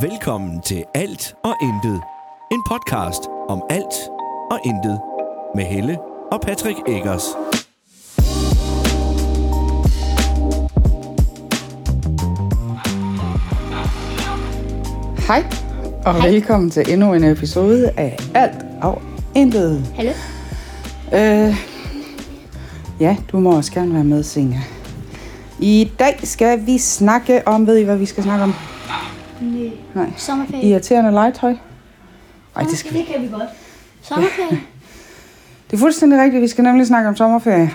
Velkommen til Alt og Intet. En podcast om alt og intet. Med Helle og Patrick Eggers. Hej, og Hej. velkommen til endnu en episode af Alt og Intet. Hallo? Øh, ja, du må også gerne være med, Signe. I dag skal vi snakke om, ved I hvad vi skal snakke om? Nej. Nej. Sommerferie. Irriterende legetøj? Nej, det skal vi Det kan vi godt. Sommerferie. Det er fuldstændig rigtigt, vi skal nemlig snakke om sommerferie.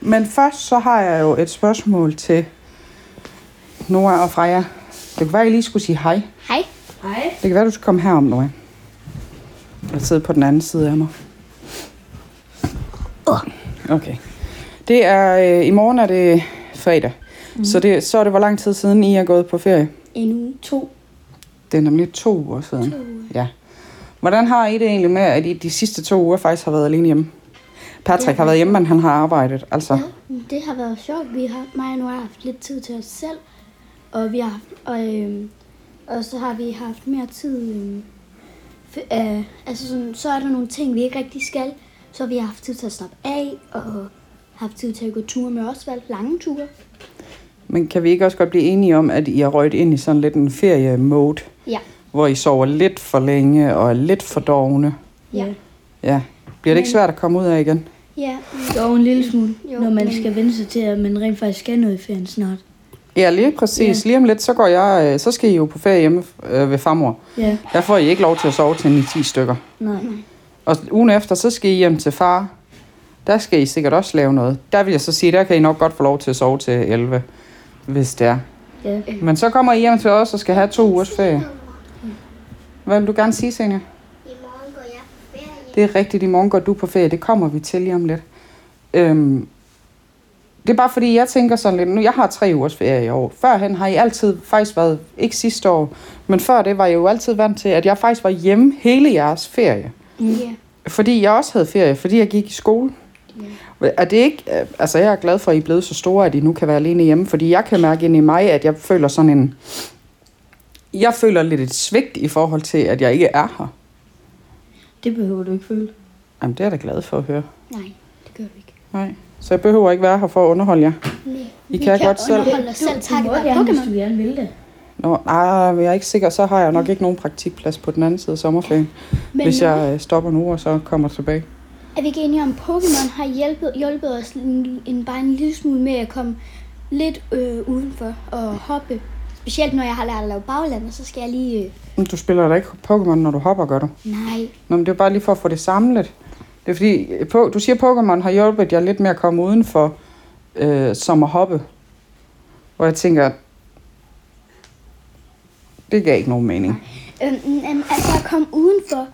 Men først så har jeg jo et spørgsmål til Nora og Freja. Det kan være, at I lige skulle sige hej. Hej. Det kan være, du skal komme herom, Nora. Og sidde på den anden side af mig. Okay. Det er, øh, i morgen er det fredag. Mm. Så, det, så er det, hvor lang tid siden I er gået på ferie? En uge. To. Det er nemlig to uger siden. To uger. Ja. Hvordan har I det egentlig med, at I de sidste to uger faktisk har været alene hjemme? Patrick har været hjemme, men han har arbejdet. Altså, Ja, det har været sjovt. Vi har, mig og Nora har haft lidt tid til os selv. Og, vi har haft, og, øhm, og så har vi haft mere tid. Øhm, for, øh, altså sådan, så er der nogle ting, vi ikke rigtig skal. Så vi har haft tid til at slappe af, og haft tid til at gå ture med Osvald. Lange ture. Men kan vi ikke også godt blive enige om, at I har røget ind i sådan lidt en ferie-mode, Ja. hvor I sover lidt for længe og er lidt for dogne? Ja. Ja. Bliver det ikke svært at komme ud af igen? Ja. Jo, en lille smule, Jo, jo, når man men- skal vende sig til, at man rent faktisk skal noget i ferien snart. Ja, lige præcis. Lige om lidt, så, går jeg, øh, så skal I jo på ferie hjemme øh, ved farmor. Ja, Der får I ikke lov til at sove til 9-10 stykker. nej. Og ugen efter, så skal I hjem til far. Der skal I sikkert også lave noget. Der vil jeg så sige, der kan I nok godt få lov til at sove til 11, hvis det er. Ja. Øh. Men så kommer I hjem til os og skal have to ugers ferie. Hvad vil du gerne sige, Senja? I morgen går jeg på ferie. Det er rigtigt, i morgen går du på ferie. Det kommer vi til lige om lidt. Øhm, det er bare fordi, jeg tænker sådan lidt, nu jeg har tre ugers ferie i år. Førhen har I altid faktisk været, ikke sidste år, men før det var jeg jo altid vant til, at jeg faktisk var hjemme hele jeres ferie. Ja. Fordi jeg også havde ferie, fordi jeg gik i skole. Ja. Er det ikke, øh, altså jeg er glad for, at I er blevet så store, at I nu kan være alene hjemme, fordi jeg kan mærke ind i mig, at jeg føler sådan en, jeg føler lidt et svigt i forhold til, at jeg ikke er her. Det behøver du ikke føle. Jamen det er jeg da glad for at høre. Nej, det gør vi ikke. Nej, så jeg behøver ikke være her for at underholde jer. Nej. I kan, kan godt selv. Underhold dig selv, tak. du må gerne, hvis du gerne vil det. Nå, nej, jeg er ikke sikker, så har jeg nok ikke nogen praktikplads på den anden side af sommerferien, Men hvis jeg øh, stopper nu og så kommer tilbage. Er vi ikke enige om, at Pokémon har hjulpet, hjulpet os en, en, bare en lille smule med at komme lidt øh, udenfor og hoppe? Specielt når jeg har lært at lave baglander, så skal jeg lige... Øh, Men du spiller da ikke Pokémon, når du hopper, gør du? nej, Nå, men det er bare lige for at få det samlet. Det er fordi, øh, på, du siger, Pokémon har hjulpet jer lidt med at komme udenfor, øh, som at hoppe. Hvor jeg tænker, det gav ikke nogen mening. øhm, øhm, altså at komme udenfor.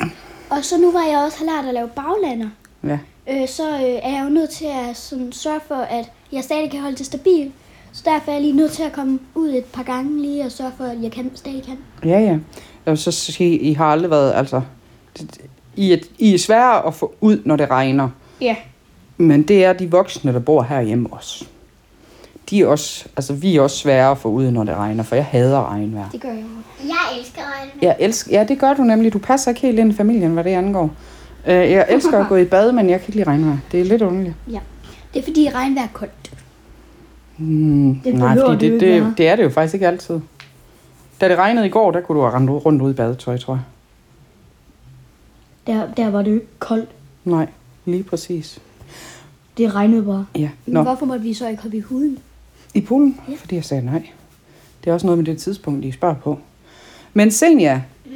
Og så nu hvor jeg også har lært at lave baglander, Ja. øh, så øh, er jeg jo nødt til at sådan, sørge for, at jeg stadig kan holde det stabil. Så derfor er jeg lige nødt til at komme ud et par gange lige og sørge for, at jeg kan, stadig kan. Ja, ja. Jeg vil så sige, I har aldrig været, altså... det- det- I er, I er svære at få ud, når det regner. Ja. Men det er de voksne, der bor herhjemme også. De er også, altså vi er også svære at få ud, når det regner, for jeg hader regnvejr. Det gør jeg jo. Jeg elsker regnvejr. Jeg elsker, ja, det gør du nemlig. Du passer ikke helt ind i familien, hvad det angår. Øh, Jeg elsker at gå i bad, men jeg kan ikke lide regnvejr. Det er lidt underligt. Ja. Det er fordi regnvejr er koldt. Mm, Det nej, behøver fordi det jo det, ikke det, være. det er det jo faktisk ikke altid. Da det regnede i går, der kunne du have rendt ud- rundt ud i badetøj, tror jeg. Der, der var det jo ikke koldt. Nej, lige præcis. Det regnede bare. Ja. Men Nå, hvorfor måtte vi så ikke hoppe i huden? I poolen, ja. fordi jeg sagde nej. Det er også noget med det tidspunkt, I spørger på. Men Senja, mm.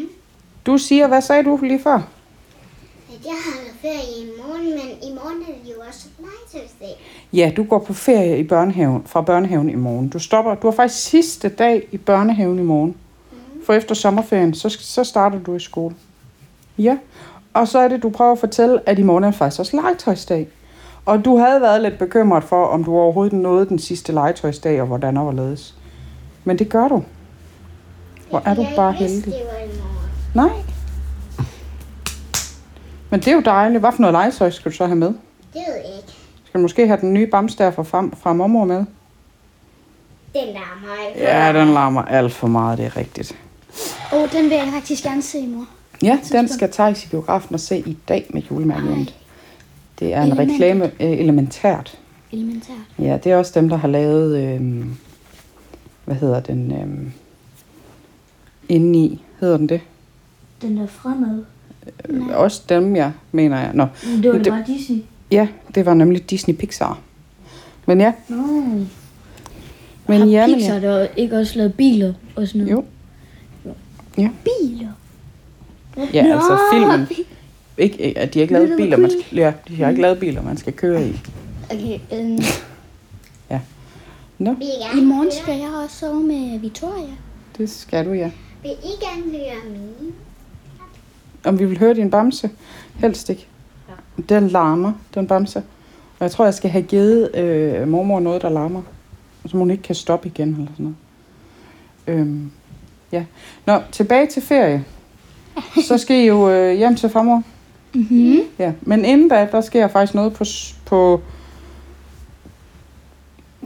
du siger, hvad sagde du lige før? At jeg har været ferie i morgen, men i morgen er det jo også legetøjsdag. Ja, du går på ferie i børnehaven, fra børnehaven i morgen. Du stopper, du har faktisk sidste dag i børnehaven i morgen. For efter sommerferien, så, så starter du i skole. Ja, og så er det, du prøver at fortælle, at i morgen er faktisk også legetøjsdag. Og du havde været lidt bekymret for, om du overhovedet nåede den sidste legetøjsdag, og hvordan og hvorledes. Men det gør du. Hvor er du bare heldig. Jeg vidste, det var i morgen. Nej. Men det er jo dejligt. Hvad for noget legetøj skal du så have med? Det ved jeg ikke. Skal du måske have den nye bamse der fra, fra, fra mormor med? Den der er mig. Ja, den larmer alt for meget, det er rigtigt. Åh, oh, den vil jeg faktisk gerne se, mor. Ja, den skal tages i biografen og se i dag med julemærkeland. Ej. Det er en Element. reklame øh, elementært. Elementært. Ja, det er også dem, der har lavet, øh, hvad hedder den, øh, indeni, hedder den det? Den der fremad. Nej. Også dem, jeg mener jeg. Nå. Men det var Men det det- bare Disney. Ja, det var nemlig Disney Pixar. Men ja, Nå. men har ja, men Pixar ja. der ikke også lavet biler og sådan noget? Jo. Biler. Ja, Nå, altså filmen. Ikke, ikke, at de har ikke lavet Little biler, man Queen. skal, ja, de har ikke lavet biler, man skal køre i. Okay, øhm, Nå, Vil I i gerne morgen høre? skal jeg også sove med Victoria. det skal du, ja. Vil I gerne høre mine? Om vi vil høre din bamse? Helst ikke. Den larmer, den bamse. Og jeg tror, jeg skal have givet øh, mormor noget, der larmer. Som hun ikke kan stoppe igen, eller sådan noget. Øhm, ja. Nå, tilbage til ferie. Så skal I jo øh, hjem til farmor. Mm-hmm. Ja, men inden da, der sker faktisk noget på... s- På,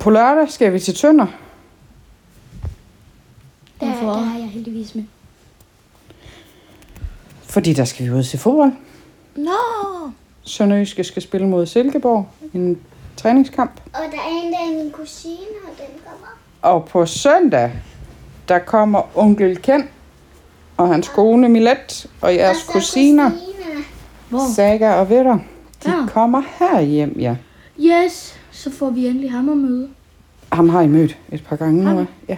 på lørdag skal vi til Tønder. Der, Hvorfor? der er jeg heldigvis med. Fordi der skal vi ud og se fodbold. Nå! Sønderjyske skal spille mod Silkeborg. En træningskamp. Og der er en dag min kusine, og den kommer. Og på søndag, der kommer onkel Ken og hans Ah. kone Milet og Og jeres så kusiner, kusiner. Hvor? Saga og Vitter. De Ja. kommer her hjem, ja. Yes, så får vi endelig ham at møde. Ham har I mødt et par gange nu, Ham? ikke? ja.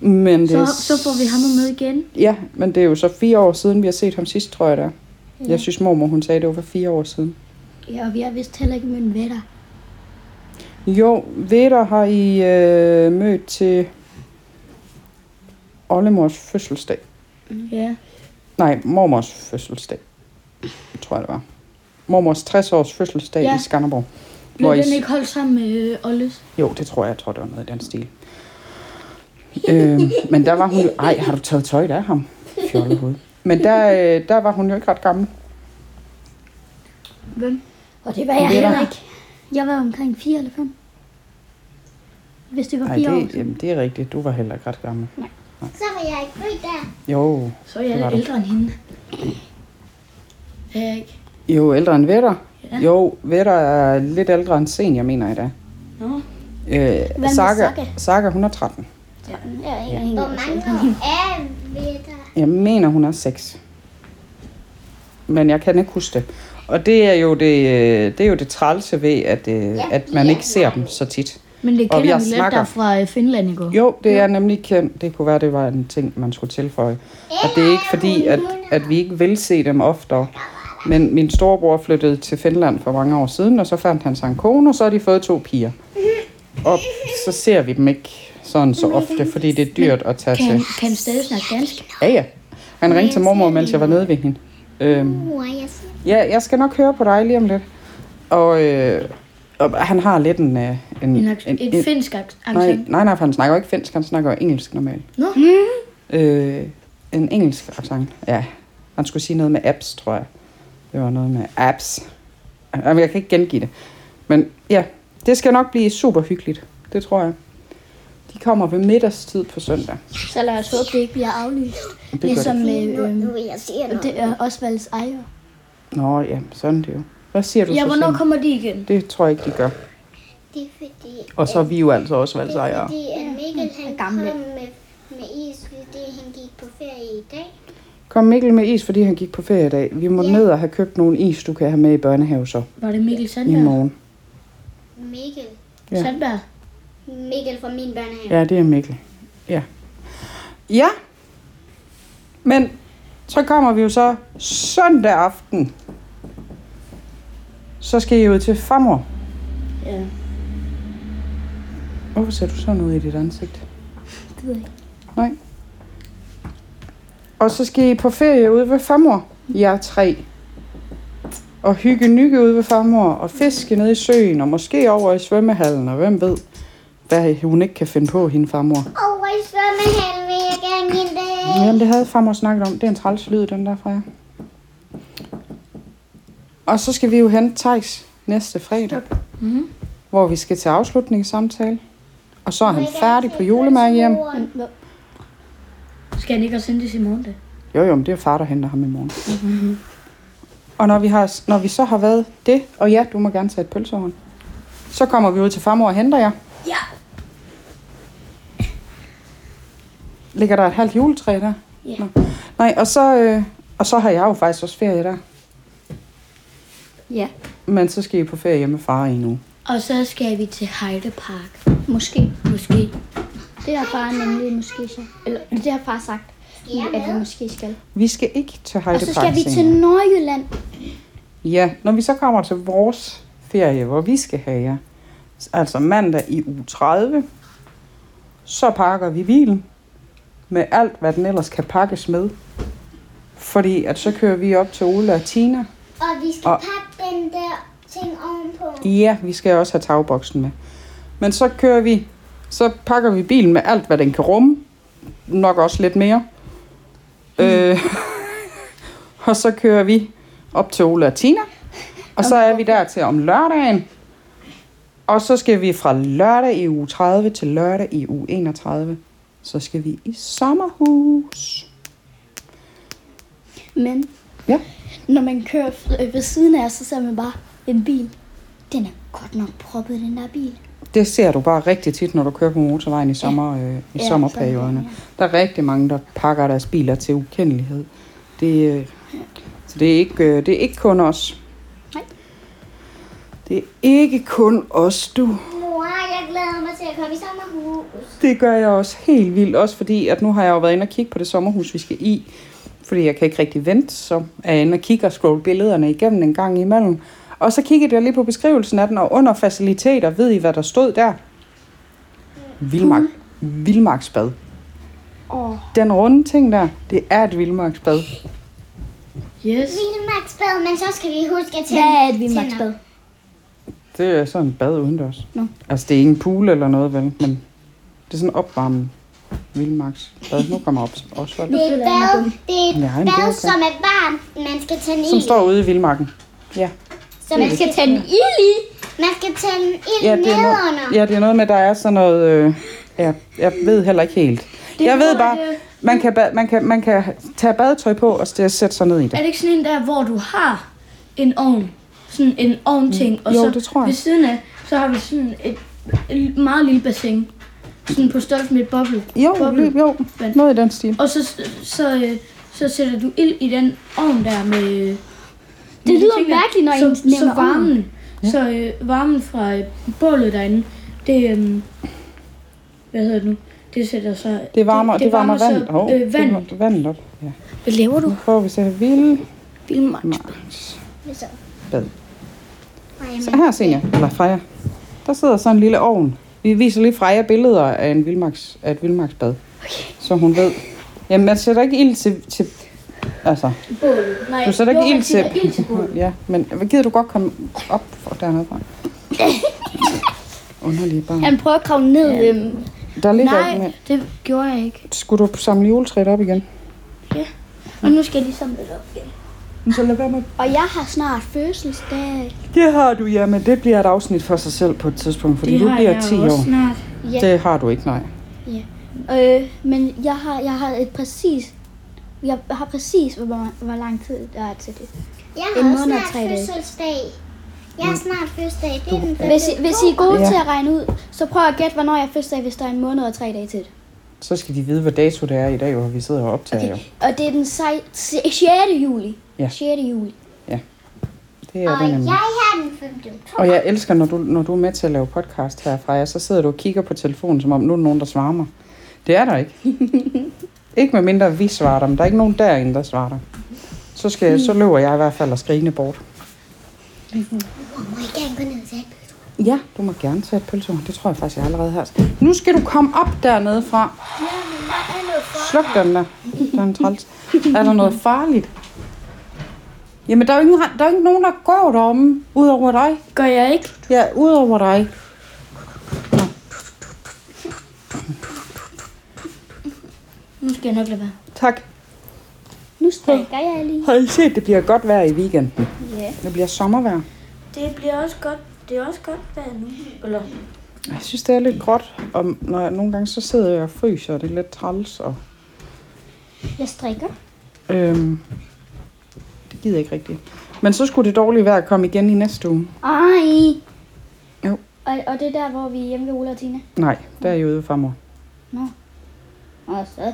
Men det Så, er, så får vi ham at møde igen. Ja, men det er jo så fire år siden, vi har set ham sidst, tror jeg der. Ja. Jeg synes, mormor, hun sagde, det var for fire år siden. Ja, og vi har vist heller ikke mødt ved dig. Jo, Vitter har I øh, mødt til Ollemors fødselsdag. Ja. Nej, mormors fødselsdag, tror jeg det var. Mormors 60-års fødselsdag ja. Ja. i Skanderborg. Blev Hvor I... den ikke holdt sammen med øh, Olles? Jo, det tror jeg. Jeg tror, det var noget i den stil. øh, men der var hun jo... Ej, har du taget tøjet af ham? Fjollehoved. Men der, øh, der var hun jo ikke ret gammel. Hvem? Og det var jeg Ved dig. heller ikke. Jeg var omkring 4 eller 5. Hvis det var Nej, 4 år det, siden. jamen, det er rigtigt. Du var heller ikke ret gammel. Så var jeg ikke født der. Jo, Så er jeg Det var du. ældre end hende. Er jeg ikke? jo ældre end Vetter. Ja. Jo, Vetter er lidt ældre end sen, jeg mener i dag. Nå. Øh, med Saga, Saga? Saga, hun er 13. Jeg er ikke engang Hvor mange år er vi der? Jeg mener, hun er 6. Men jeg kan ikke huske det. Og det er jo det, øh, det, er jo det trælse ved, at, øh, at man ja, ikke ser ja. dem så tit. Men det Og vi kender har vi lidt snakker. der fra øh, Finland i går. Jo, det er nemlig kendt. Det kunne være, det var en ting, man skulle tilføje. Og det er ikke fordi, at, at vi ikke vil se dem oftere. Men min storebror flyttede til Finland for mange år siden, og så fandt han sig en kone, og så har de fået to piger. Og så ser vi dem ikke sådan så ofte, fordi det er dyrt at tage Kan, til. kan han stadig snakke dansk? Ja, ja. Han ringte til mormor, mens jeg var nede ved hende. Øhm, Mor, jeg siger. Ja, jeg skal nok høre på dig lige om lidt. Og, øh, og han har lidt en... øh, en, En, ak- en, en finsk ak- nej, accent? nej, nej, for han snakker jo ikke finsk, han snakker jo engelsk normalt. Nå. Øh, en engelsk accent, ja. Han skulle sige noget med apps, tror jeg. Det var noget med apps. Jamen, jeg kan ikke gengive det. Men ja, det skal nok blive super hyggeligt. Det tror jeg. De kommer ved middagstid på søndag. Så lad os håbe, det ikke bliver aflyst. Det gør Ligesom det. med Nu, øh, nu vil jeg sige noget. det er Osvalds ejer. Nå, ja, sådan er det jo. Hvad siger du Ja, så? hvornår Signe? kommer de igen? Det tror jeg ikke, de gør. Det er fordi, Og så er vi jo altså også det er valgsejere. fordi at Mikkel han kom gamle. med, med is, fordi han gik på ferie i dag. Kom Mikkel med is, fordi han gik på ferie i dag. Vi må Ja. ned og have købt nogle is, du kan have med i børnehave så Var det Mikkel i Sandberg? morgen. Mikkel. Ja. Sandberg? Mikkel fra min børnehave. Ja, det er Mikkel. Ja. Ja. Men så kommer vi jo så søndag aften. Så skal I ud til farmor. Ja. Hvorfor ser du sådan ud i dit ansigt? Det ved jeg ikke. Nej. Og så skal I på ferie ude ved farmor. Jeg er tre. Og hygge nygge ude ved farmor. Og fiske nede i søen. Og måske over i svømmehallen. Og hvem ved, hvad hun ikke kan finde på, hende farmor. Over i svømmehallen vil jeg gerne en dag. Jamen, det havde farmor snakket om. Det er en træls lyd, den der fra jer. Og så skal vi jo hente Tejs næste fredag. Mhm. Hvor vi skal til afslutningssamtale. Og så er Vil han jeg gerne færdig se Hm, på julemærkehjem. Pølsemoren. Men, hvor- Skal han ikke også hentes i morgen, da? Jo, jo, men det er far, der henter ham i morgen. Mm-hmm. og når vi, har, når vi så har været det, og ja, du må gerne tage et pølsehorn, så kommer vi ud til farmor og henter jer. Ja. Ligger der et halvt juletræ der? Ja. Nå. Nej, og så, øh, og så har jeg jo faktisk også ferie der. Ja. Men så skal I på ferie hjemme med far i nu. Og så skal vi til Heide Park. Måske. Måske. Det har far nemlig måske så. Eller det har far sagt, at vi måske skal. Vi skal ikke til Heide Og så skal Park vi til senere. Nordjylland. Ja, når vi så kommer til vores ferie, hvor vi skal have jer, altså mandag i uge 30, så pakker vi bilen med alt, hvad den ellers kan pakkes med. Fordi at så kører vi op til Ola og Tina. Og vi skal Og- pakke den der ting ovenpå. Ja, vi skal også have tagboksen med. Men så kører vi, så pakker vi bilen med alt, hvad den kan rumme. Nok også lidt mere. Mm. Øh, og så kører vi op til Ola og Tina. Og så er vi der til om lørdagen. Og så skal vi fra lørdag i uge 30 til lørdag i uge 31. Så skal vi i sommerhus. Men Ja. når man kører øh, ved siden af, så ser man bare en bil. Den er godt nok proppet, den der bil. Det ser du bare rigtig tit, når du kører på motorvejen i, sommer, øh, i Ja, sommerperioderne. sådan, Der er rigtig mange, der pakker deres biler til ukendelighed. Det, øh, så det er, ikke, øh, det er ikke kun os. Nej. Det er ikke kun os, du. Mor, jeg glæder mig til at komme i sommerhus. Det gør jeg også helt vildt, også fordi at nu har jeg jo været inde og kigge på det sommerhus, vi skal i. Fordi jeg kan ikke rigtig vente, så er jeg inde og kigge og scrolle billederne igennem en gang imellem. Og så kiggede jeg lige på beskrivelsen af den, og under faciliteter, ved I hvad der stod der? Vildmark. Vildmarksbad. Mm. Åh, Den runde ting der, det er et vildmarksbad. Yes. Vildmarksbad, men så skal vi huske at hvad tænde er et vildmarksbad? Det er sådan en bad udendørs. Nå. Altså, det er ikke en pool eller noget, vel? Men det er sådan en opvarmet vildmarksbad. Nu kommer op Osvald. Det er et føler jeg mig bad, dum. det er et Nej, men det er bad, okay. som er varmt, man skal tænde Som ild. står ude i vildmarken. Ja. Så man skal, tænde ild i. man skal tænde ild Ja, det er, nedenunder. noget, ja, det er noget med, at der er sådan noget... Øh, ja, jeg ved heller ikke helt. Det jeg ved bare, man kan, ba- man, kan, man kan tage badetøj på og st- sætte sig ned i Er det. det ikke sådan en der, hvor du har en ovn? Sådan en ovnting, og Jo, så det tror jeg. ved siden af, så har vi sådan et, et meget lille bassin. Sådan på størrelse med et boble. Jo, boble. lige- jo, noget i den stil. Og så, så, øh, så sætter du ild i den ovn der med... Det lyder tænker, mærkeligt, når så, I nævner så varmen, så øh, varmen fra øh, bålet derinde, det... Øh, hvad hedder det nu? Det sætter så... Det varmer, det, det varmer, vandet. Så, øh, vand. vand. Det varmer vandet op. Ja. Hvad laver du? Nu prøver vi så at have vildmarksbad. Så. Ej, Så her, Senja, eller Freja, der sidder så en lille ovn. Vi viser lige Freja billeder af, en vildmarks, af et vildmarksbad. Okay. Så hun ved. Jamen, man sætter ikke ild til... til altså, Bålet. Nej, du sætter ikke jo, man ild til... sætter ild til bålet. ja, men hvad gider du godt komme op for dernede fra? Underlige barn. Han prøver at kravle ned. Øhm, Der ligger Nej, ikke mere. det gjorde jeg ikke. Skulle du samle juletræet op igen? og nu skal jeg lige samle det op igen. Så lad være med Og jeg har snart fødselsdag. Det har du, ja, men det bliver et afsnit for sig selv på et tidspunkt, fordi Det du har bliver jeg 10 også år. snart. Ja. Det har du ikke, nej. Øh, men jeg har, jeg har et præcis... Jeg har præcis, hvor, hvor lang tid der er til det. Jeg En har også måned og snart tre dage. fødselsdag. Jeg har snart fødselsdag. Det er den Hvis I, hvis I er gode Ja. ja. til at regne ud, så prøv at gætte, hvornår jeg er fødselsdag, hvis der er en måned og tre dage til det. Så skal de vide, hvad dato det er i dag, hvor vi sidder og optager. Okay. Og det er den sej- se- 6. juli. Ja. 6. juli. Det er Og det nemlig. jeg har den 5. oktober. Og jeg elsker, når du, når du er med til at lave podcast her, Freja, så sidder du og kigger på telefonen, som om nu er der nogen, der svarer mig. Det er der ikke. ikke med mindre vi svarer dem. Der er ikke nogen derinde, der svarer dig. Så, skal, så løber jeg i hvert fald og skrigende bort. Mor, må jeg gerne gå ned og tage et Ja, du må gerne tage et pølsehorn. Det tror jeg faktisk, jeg allerede har. Nu skal du komme op dernede fra. Sluk den der. Der er en træls. Er der noget farligt? Jamen, der er jo ingen, der er jo ikke nogen, der går deromme, udover dig. Gør jeg ikke? Ja, udover dig. Nu skal jeg nok lade være. Tak. Nu strikker jeg lige. Har I set, det bliver godt vejr i weekenden? Ja. Det bliver sommervejr. Det bliver også godt. Det er også godt vejr nu. Eller? Jeg synes, det er lidt gråt, og når jeg, nogle gange så sidder jeg og fryser, og det er lidt træls. Og... Jeg strikker. Øhm, det gider jeg ikke rigtigt. Men så skulle det dårlige vejr komme igen i næste uge. Ej. Jo. Og, og det er der, hvor vi er hjemme ved Ola og Tina. Nej, der er I ude fra mor. Og så,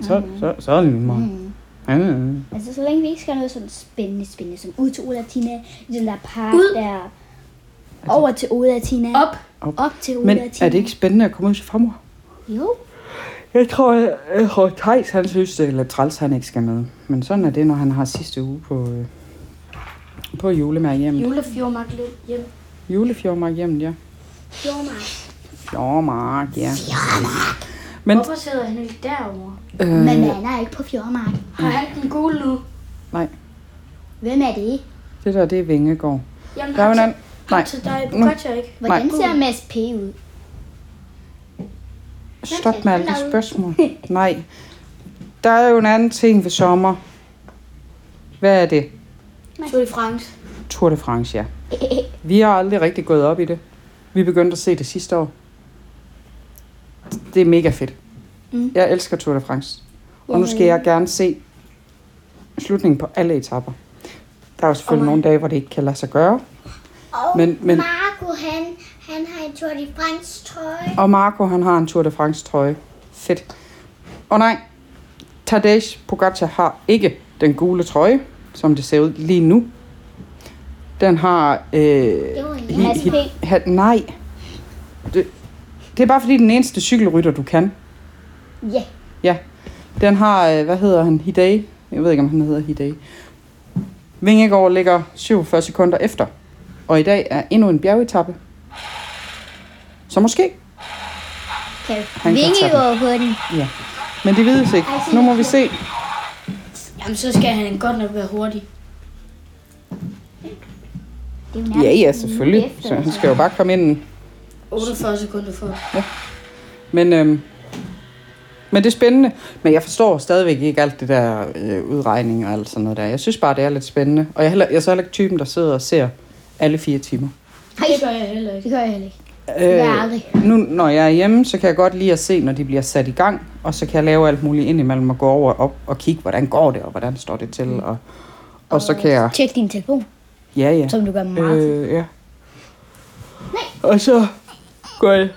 Så, så, så er det min mor. Mm. altså, så længe vi ikke skal noget sådan spændende, spændende, som ud til Ola og Tina, i den der park Ud. der, over til Ola og Tina, Op. op, op til Ola Men og Tina. er det ikke spændende at komme ud til farmor? Jo, Jeg tror, jeg, jeg tror Thijs, han synes, det er lidt træls, han ikke skal med. Men sådan er det, når han har sidste uge på, øh, på julemærhjemmet. Julefjordmark hjem. Julefjordmarkhjemmet, ja. fjordmark. Fjordmark, ja. Men, Hvorfor sidder han ikke derovre? Øh. Men øh, man er ikke på fjordmark. Har han den gule nu? Hvem er det? det der, det er Vingegård. Jamen, Der er jo en til, anden. Nej, Mm. til dig på Nu. ikke? Hvordan Nej. ser Mads P. ud? stop med alle de spørgsmål. Nej. Der er jo en anden ting ved sommer. Hvad er det? Tour de France. Tour de France, ja. Vi har aldrig rigtig gået op i det. Vi begyndte at se det sidste år. Det er mega fedt. Mm. Jeg elsker Tour de France. Og nu skal jeg gerne se slutningen på alle etapper. Der er jo selvfølgelig oh nogle dage, hvor det ikke kan lade sig gøre. Og Men- men- Marco, han, han har en Tour de France trøje. Og Marco, han har en Tour de France trøje. Fedt. Og nej, Tadej Pogacar har ikke den gule trøje, som det ser ud lige nu. Den har... Øh, Det var en Hi- Mads P. hi- ha- nej. Det, det er bare fordi den eneste cykelrytter, du kan. Ja. Ja. Den har, øh, hvad hedder han, Hidei? Jeg ved ikke, om han hedder Hidei. Vingegaard ligger 47 sekunder efter. Og i dag er endnu en bjergetappe. Så måske. Kan kan vinge tage den. over på den. Ja. Men det vides ikke. Nu må vi se. Jamen, så skal han godt nok være hurtig. Det er jo Ja, nærmest ja, en selvfølgelig. uge efter, Så han altså. skal jo bare komme ind. 48 sekunder for. Men, øhm, men det er spændende. Men jeg forstår stadigvæk ikke alt det der øh, udregning og alt sådan noget der. Jeg synes bare, det er lidt spændende. Og jeg er, heller, jeg er så heller ikke typen, der sidder og ser alle fire timer. Det gør jeg heller ikke. Det gør jeg heller ikke. jeg aldrig. Øh, nu, når jeg er hjemme, så kan jeg godt lide at se, når de bliver sat i gang. Og så kan jeg lave alt muligt indimellem og gå over og, op og kigge, hvordan går det, og hvordan står det til. Og, og så kan jeg... Tjek din telefon, Ja, ja. som du gør meget. Øh. Øh, ja. Og så går jeg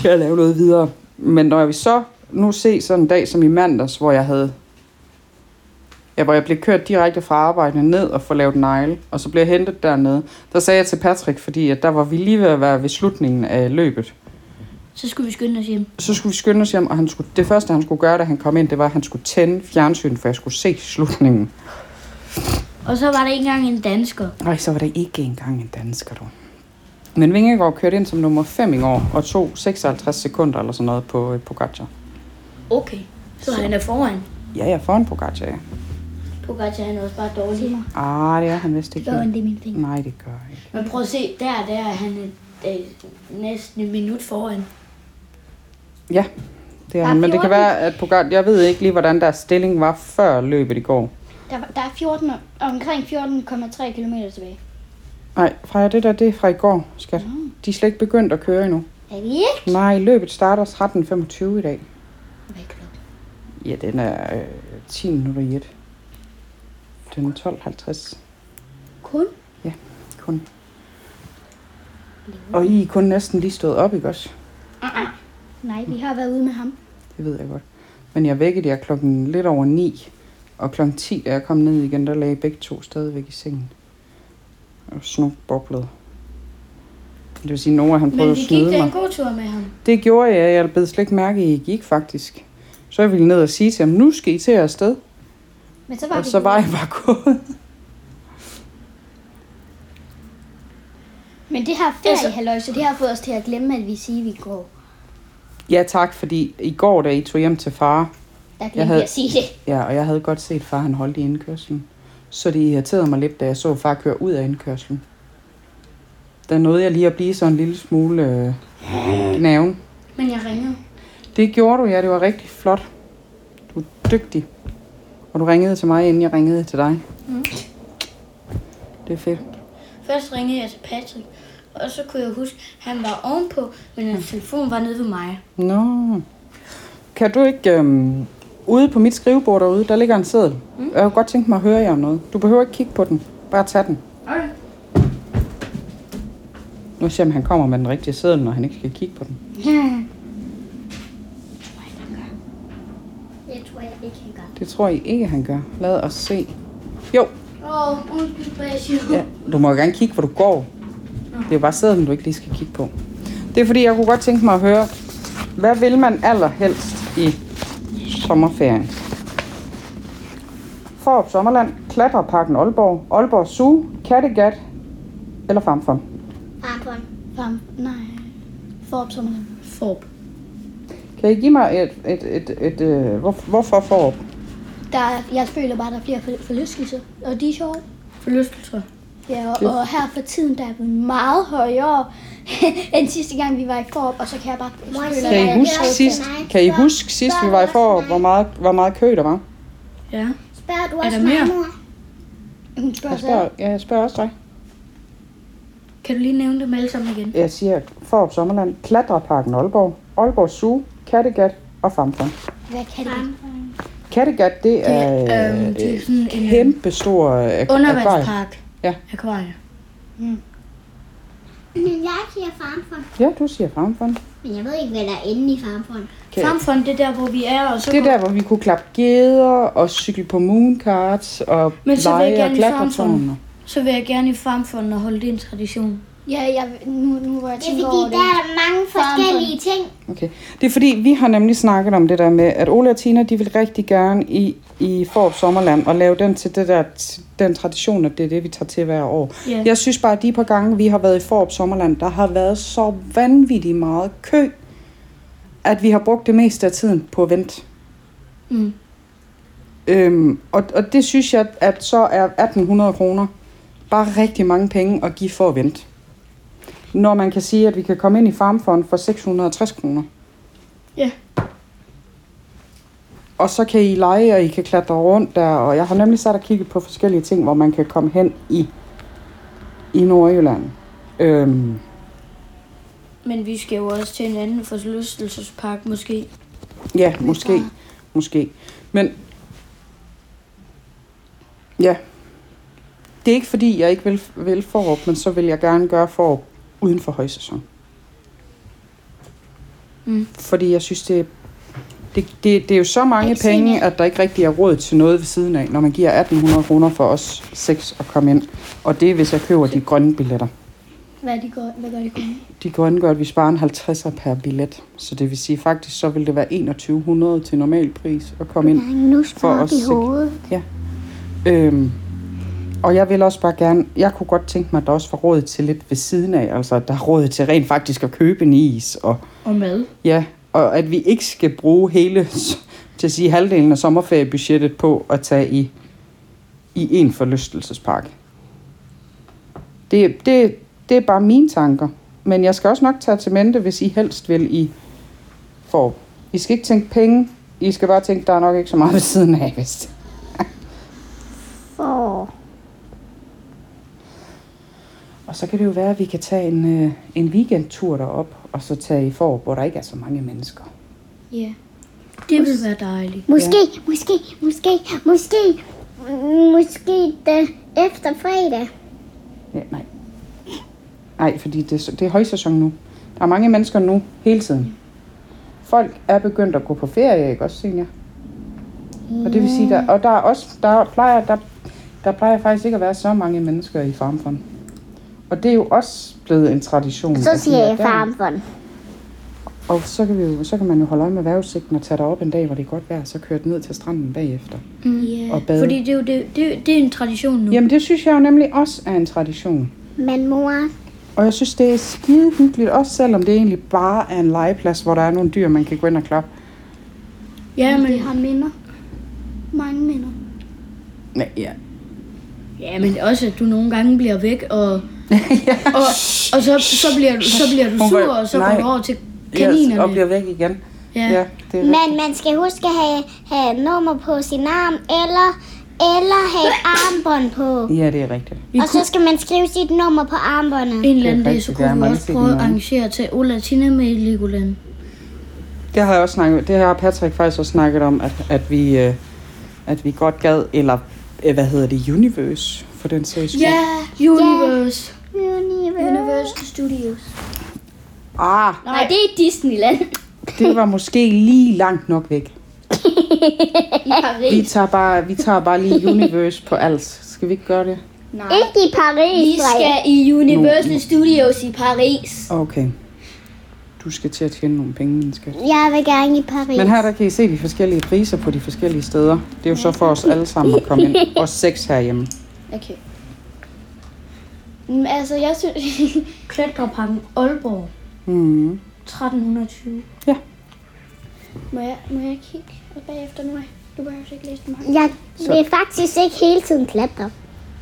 til at lave noget videre. Men når vi så nu se sådan en dag som i mandags, hvor jeg havde Ja, hvor jeg blev kørt direkte fra arbejde ned og få lavet negle, og så blev jeg hentet dernede. Der sagde jeg til Patrick, fordi at der var vi lige ved at være ved slutningen af løbet. Så skulle vi skynde os hjem. Så skulle vi skynde os hjem, og han skulle, det første, han skulle gøre, da han kom ind, det var, at han skulle tænde fjernsyn, for jeg skulle se slutningen. Og så var der ikke engang en dansker. Nej, så var det ikke engang en dansker, du. Men Vingegaard kørte ind som nummer 5 i år, og tog 56 sekunder eller sådan noget på øh, Pogacar. Okay. Så, han er foran. Ja, jeg er foran Pogacar, ja. Pogacar han er også bare dårlig. Ah, det er han vist ikke. Gør det er min finger. Nej, det gør jeg ikke. Men prøv at se, der, der er han et, øh, næsten en minut foran. Ja, det er han. Men det kan være, at Pogacar... Jeg ved ikke lige, hvordan deres stilling var før løbet i går. Der, der er 14, og- omkring 14,3 km tilbage. Nej, Freja, det der, det er fra i går, skat. De er slet ikke begyndt at køre endnu. Er vi ikke? Nej, løbet starter 13.25 i dag. Hvad er klokken? Ja, den er øh, 10 minutter i et. Den er 12.50. Kun? Kun. Og I er kun næsten lige stået op, ikke også? Nej, vi har været ude med ham. Det ved jeg godt. Men jeg vækkede jer klokken lidt over 9. Og klokken 10, da jeg kom ned igen, der lagde I begge to stadigvæk i sengen. Og snup boblede. Det vil sige, Nora han Men prøvede at vi gik snyde da mig. en god tur med ham. Det gjorde jeg. Jeg blev slet ikke mærke, at I gik faktisk. Så jeg ville ned og sige til ham, nu skal I til at afsted. Men så var Og vi så var jeg bare gået. Men det her Altså- feriehalløjse, det har fået os til at glemme, at vi siger, at vi går. Ja tak, fordi i går, da I tog hjem til far, Der glemte Jeg havde- jeg havde... at sige det. Ja, og jeg havde godt set far, han holdt i indkørslen. Så det irriterede mig lidt, da jeg så far køre ud af indkørslen. Der nåede jeg lige at blive sådan en lille smule øh, gnaven. Men jeg ringede. Det gjorde du, ja. Det var rigtig flot. Du er dygtig. Og du ringede til mig, inden jeg ringede til dig. Mm. Det er fedt. Først ringede jeg til Patrick, og så kunne jeg huske, at han var ovenpå, men hans telefon var nede ved mig. Nå. Kan du ikke øhm, ude på mit skrivebord derude, der ligger en seddel. Mm. Jeg kunne godt tænke mig at høre jer om noget. Du behøver ikke kigge på den. Bare tag den. Okay. Nu ser jeg, om han kommer med den rigtige seddel, når han ikke skal kigge på den. Det tror jeg ikke, han gør. Det tror jeg ikke, han gør. Lad os se. Jo, Åh, oh, undskyld, Basio. ja. du må jo gerne kigge, hvor du går. Det er jo bare sædlen, du ikke lige skal kigge på. Det er fordi, jeg kunne godt tænke mig at høre, hvad vil man allerhelst i sommerferien? Forop Sommerland, Klatreparken Aalborg, Aalborg Zoo, Kattegat eller Farmfond? Farmfond. Bam. Nej. Forop som Forb. Kan I give mig et, et, et, et, et hvor, hvorfor Forop? Der, er- jeg føler bare, der er flere for- forlystelser, og de er sjove. Forlystelser. Ja, og, og her for tiden, der er vi meget højere end sidste gang, vi var i Forop, og så kan jeg bare... Mor, så føler jeg- siger Kan I Ja, det huske er også sidst, mig. kan I huske sidst vi var i Forop, hvor meget, hvor meget kø der var? Ja. Spørger du Er også der mere? mig, mor? Hun spørger Jeg sig, spørger, ja, jeg spørger også dig. Kan du lige nævne dem alle sammen igen? Jeg siger Forop Sommerland, Klatreparken Aalborg, Aalborg Zoo, Kattegat og Famfam. hvad kan det? Kattegat, det er øhm, øh, det er sådan en øh, kæmpe stor akvarie. undervandspark. Ja. Akvarie. Men jeg siger farmfond. Ja, du siger Famfam. Men jeg ved ikke, hvad der er inde i farmfond. Okay. Farmfond, det er der, hvor vi er, og så Det er der, hvor vi kunne klappe geder og cykle på mooncarts og Men så vil jeg lege og gerne i klatretårne. Så vil jeg gerne i farmfonden og holde det en tradition. Ja, jeg, nu, nu hvor jeg Det er tænker fordi, over det. der er mange forskellige ting. Okay. Det er fordi, vi har nemlig snakket om det der med, at Ole og Tina, de vil rigtig gerne i, i Forop Sommerland og lave den til det der, den tradition, at det er det, vi tager til hver år. Ja. Jeg synes bare, at de par gange, vi har været i Forop Sommerland, der har været så vanvittigt meget kø, at vi har brugt det meste af tiden på at vente. Mm. Øhm, og, og det synes jeg, at så er 1800 kroner bare rigtig mange penge at give for at vente. Når man kan sige, at vi kan komme ind i Farmfond for 660 kroner. Ja. Og så kan I lege, og I kan klatre rundt der. Og jeg har nemlig sat og kigget på forskellige ting, hvor man kan komme hen i, i Nordjylland. Øhm, Men vi skal jo også til en anden forlystelsespark måske. ja, måske. Måske. Men... Ja. Det er ikke fordi, jeg ikke vil, vil forop, men så vil jeg gerne gøre forop uden for højsæson. Mm. Fordi jeg synes, det, det, det, det er jo så mange Ikke penge, senere. at der ikke rigtig er råd til noget ved siden af, når man giver 1800 kroner for os seks at komme ind. Og det er, hvis jeg køber de grønne billetter. Hvad, de gør, hvad gør de kun? De grønne gør, at vi sparer en 50'er per billet. Så det vil sige, faktisk så vil det være 2100 til normal pris at komme ind. nu For op os i ikke. hovedet. Øhm, og jeg vil også bare gerne, jeg kunne godt tænke mig, at der også var råd til lidt ved siden af, altså at der er råd til rent faktisk at købe en is, og Og mad. ja, og at vi ikke skal bruge hele, s- til at sige halvdelen af sommerferiebudgettet på at tage i, i en forlystelsespark. Det, det, det er bare mine tanker, men jeg skal også nok tage til mente, hvis I helst vil i for. I skal ikke tænke penge, I skal bare tænke, der er nok ikke så meget ved siden af, hvis det Åh. Og så kan det jo være, at vi kan tage en, øh, en weekendtur derop, og så tage i for, hvor der ikke er så mange mennesker. Ja. Det vil være dejligt. Måske, måske, måske, måske, m- måske da efter fredag. Ja, nej. Nej, fordi det, er så- det er højsæson nu. Der er mange mennesker nu, hele tiden. Folk er begyndt at gå på ferie, ikke også, senior? Og det vil sige, der, og der er også, der plejer, der, der plejer faktisk ikke at være så mange mennesker i farmfond. Og det er jo også blevet en tradition. Så at de siger er jeg der. farmfond. Og så kan, vi jo, så kan man jo holde øje med vejrudsigten og tage derop en dag, hvor det er godt vejr, så køre ned til stranden bagefter Mm. Ja. og bade. Fordi det er jo det, det, det er en tradition nu. Jamen det synes jeg jo nemlig også er en tradition. Men mor, Og jeg synes, det er skide hyggeligt, også selvom det egentlig bare er en legeplads, hvor der er nogle dyr, man kan gå ind og klappe. Ja, Jamen. men, Det har minder. Mange minder. Nej, ja. ja, men også, at du nogle gange bliver væk, og, og, og så, så, bliver, du- så bliver du Hun sur, går- og så går nej. du over til Yes, og kaninerne. bliver væk igen. Ja. ja det er men man skal huske at have, have nummer på sin arm, eller, eller have armbånd på. rigtigt. Ja, det er rigtigt. Vi Og så skal man skrive sit nummer på armbåndet. En eller anden Det er dag, så rigtigt, der er kunne vi mange også ting prøve at i morgen. arrangere til Ola Tina med i Legoland. Det har jeg også snakket, det har Patrick faktisk også snakket om, at, at, vi, øh, at vi godt gad, eller øh, hvad hedder det, Universe, for den sags skyld. Ja, Universe. Universe. Universal Studios. Ah, Nej, Nej det er Disneyland det var måske lige langt nok væk. i Vi Paris. tager bare, vi tager bare lige Universe på alt. Skal vi ikke gøre det? Nej. Ikke i Paris, Vi skal drenge. i Universal Studios i Paris. Okay. Du skal til at tjene nogle penge, min skat. Jeg vil gerne i Paris. Men her der kan I se de forskellige priser på de forskellige steder. Det er jo så for os alle sammen at komme ind. Os seks herhjemme. Okay. Men altså, jeg synes... Klatreparken Aalborg. Mm. 1320. må, jeg, må jeg kigge bagefter nu? Du behøver ikke læse dem Jeg vil faktisk ikke hele tiden klatre.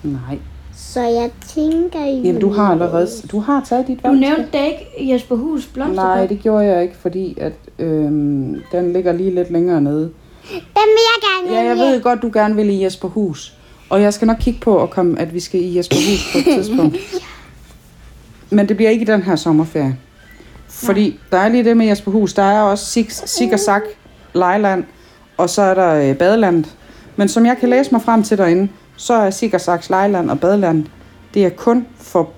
Nej. Så jeg tænker i Jamen, du har allerede... Du har taget dit Du valg. nævnte da ikke Jesper Hus Blomsterpark. Nej, det gjorde jeg ikke, fordi at, øhm, den ligger lige lidt længere nede. Den vil jeg gerne Ja, jeg i. ved godt, du gerne vil i Jesperhus. Og jeg skal nok kigge på, at, komme, at vi skal i Jesperhus på et tidspunkt. Men det bliver ikke i den her sommerferie. Fordi der er lige det med Jesperhus. Der er også Sig, Sig og Sak, Lejland, og så er der øh, Badelandet. Men som jeg kan læse mig frem til derinde, så er Sig og Saks Lejland og Badelandet, det er kun for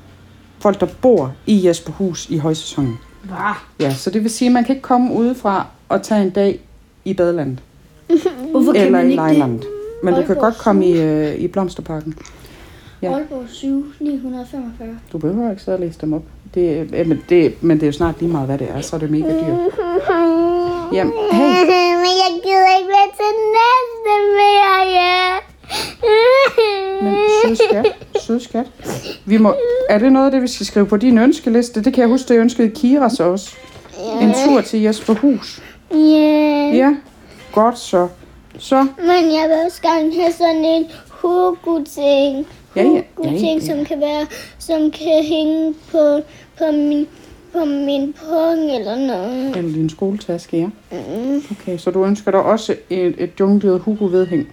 folk, der bor i Jesperhus i højsæsonen. Hva? Ja, så det vil sige, at man kan ikke komme udefra og tage en dag i Badelandet. Hvorfor kan Eller man i ikke Lejland. Men du kan Aalborg godt komme i, øh, i Blomsterparken. Ja. Aalborg 7, 945. Du behøver ikke sidde og læse dem op. Det, øh, men, det, men det er jo snart lige meget, hvad det er, så er det mega dyrt. Jamen, hey, Men jeg gider ikke være til næste mere, ja. men sød skat, sød skat. Vi må, er det noget af det, vi skal skrive på din ønskeliste? Det kan jeg huske, det ønskede Kira så også. En tur til Jesperhus. Ja. Ja, godt så. Så, Men jeg vil også gerne have sådan en hugo-ting. Ja, ja. Hugo-ting, Ja, ja. som kan være, som kan hænge på, på min på min pung eller noget. eller din skoletaske, ja. Mm. Okay, så du ønsker dig også et, et junglet Hugo-vedhæng?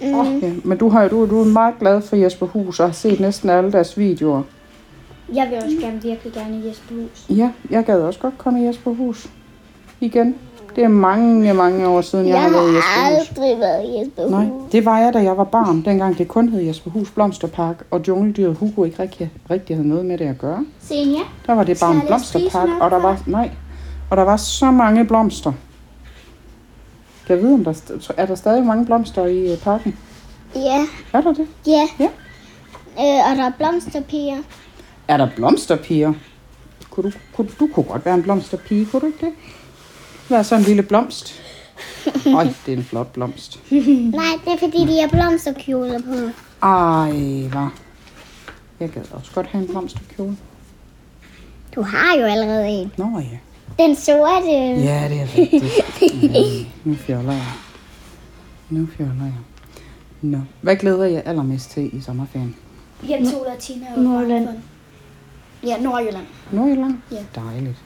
Mm. Okay, men du, har, jo- du, du er meget glad for Jesper Hus og har set næsten alle deres videoer. Jeg vil også gerne virkelig gerne i Jesper Hus. Ja, jeg gad også godt komme i Jesper Hus igen. Det er mange, mange år siden, jeg, Jeg har været i har Jesper Hus. aldrig været i Jesper Nej, det var jeg, da jeg var barn, dengang det kun hed Jesper Hus Blomsterpark, og jungledyret Hugo ikke rigtig, rigtig havde noget med det at gøre. Senja? Der var det bare Skal en jeg læse blomsterpark, prisen op og der var, her? nej, og der var så mange blomster. Kan jeg vide, om der, st- er der stadig mange blomster i øh, parken? Ja, Er der det? ja. Ja. Øh, og der er blomsterpiger. Er der blomsterpiger? Kunne du, kunne, du kunne godt være en blomsterpige, kunne du ikke det? Vær så en lille blomst. Øj, det er en flot blomst. Nej, det er fordi, de har blomsterkjoler på. Ej, hvor. Jeg gad også godt have en blomsterkjole. Du har jo allerede en. Nå ja. Den sorte. Ja, det er rigtigt. Ja, nu fjoller jeg. Nu fjoller jeg. Nå. Hvad glæder jeg allermest til i sommerferien? Jeg tog Latina og Nordjylland. Ja, Nordjylland. Nordjylland? Ja. Dejligt.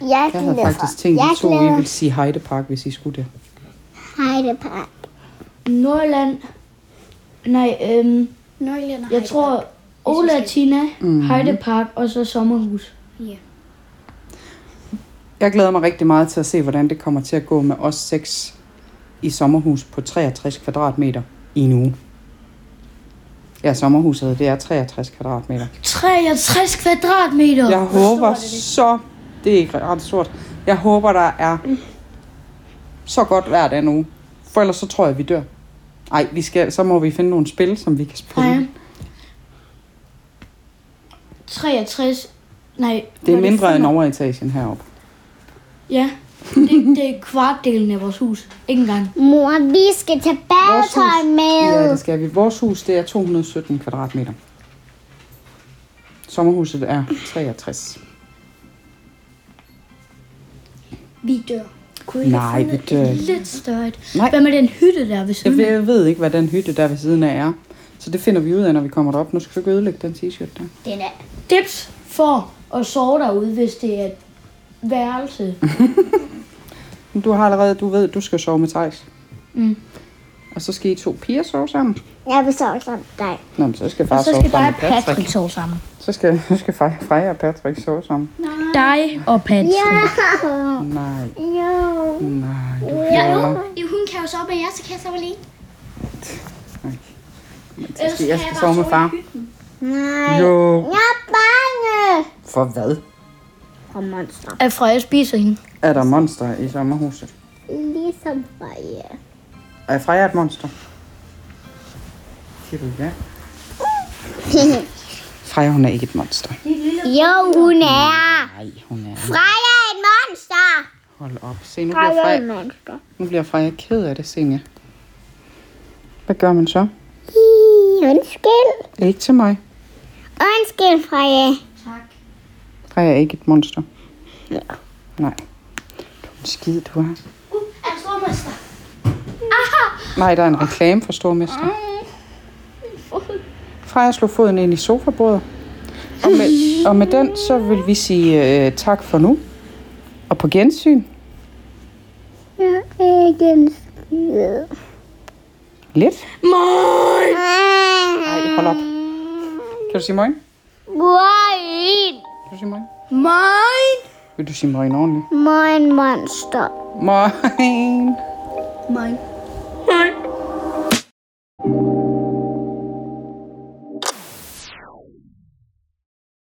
Jeg Jeg havde glæder. faktisk tænkt, jeg at to I glæder. ville sige Heidepark, hvis I skulle det. Hej, det par. Nordland. Nej, øhm, Nordjylland og jeg tror Olatina, Mhm. Heidepark og så Sommerhus. Jeg glæder mig rigtig meget til at se, hvordan det kommer til at gå med os seks i sommerhus på 63 kvadratmeter i en uge. Ja, sommerhuset, det er 63 kvadratmeter. 63 kvadratmeter! Jeg håber så... Det er ikke ret stort. Jeg håber, der er så godt vejr den uge. For ellers så tror jeg, vi dør. Ej, vi skal, så må vi finde nogle spil, som vi kan spille. Nej. 63. Nej. Det var er mindre end femmer? overetagen heroppe. Ja. Det, det er kvartdelen af vores hus. Ikke engang. Mor, vi skal tage badetøj med. Ja, det skal vi. Vores hus, det er 217 kvadratmeter. Sommerhuset er 63. Vi dør. Kunne I ikke Nej, finde vi et dør ikke. lidt større et- Nej. Hvad med den hytte der ved Jeg siden ved, af? jeg ved ikke, hvad den hytte der ved siden af er. Så det finder vi ud af, når vi kommer derop. Nu skal du ikke ødelægge den t-shirt der. Den er. Dips for at sove derude, hvis det er et værelse. Men Du har allerede, du ved, du skal sove med Thijs. Mm. Og så skal I to piger sove sammen. Jeg vil sove sammen med dig. Nå, men så skal Og far så sove skal sammen bare med Patrick. Patrick sove sammen. Så skal, så skal Frej- Freja og Patrick sove sammen. Nej. dig og Patrick. Ja. Nej, Jo. nej, du Ja, fjoller. jo. Hun kan jo sove med jer, så kan jeg sove alene. Jeg skal, jeg skal sove med far. Nej. Jo, Jeg er bange. for hvad? Og monster. At Freja spiser hende. Er der monster i sommerhuset? Ligesom Freja. Er Freja et monster? Siger du ja? Freja, hun er ikke et monster. Jo, hun er. Nej, hun er. Freja er et monster. Hold op. Se, nu bliver Freja, monster. nu bliver Freja ked af det, Senja. Hvad gør man så? Undskyld. Ikke til mig. Undskyld, Freja. Tak. Freja er ikke et monster. Nej. Du er en skid, du er. Uh, er der stormester? Nej, der er en reklame for stormester. Freja slog foden ind i sofabordet. Og med, og med den, så vil vi sige øh, tak for nu. Og på gensyn. Jeg er ikke en skid. Lidt. Nej. Ej, hold op. Kan du sige morgen? Moin. Kan du sige morgen? Mine! Vil du sige morgen ordentligt? Moin, monster. Morgen. Mine.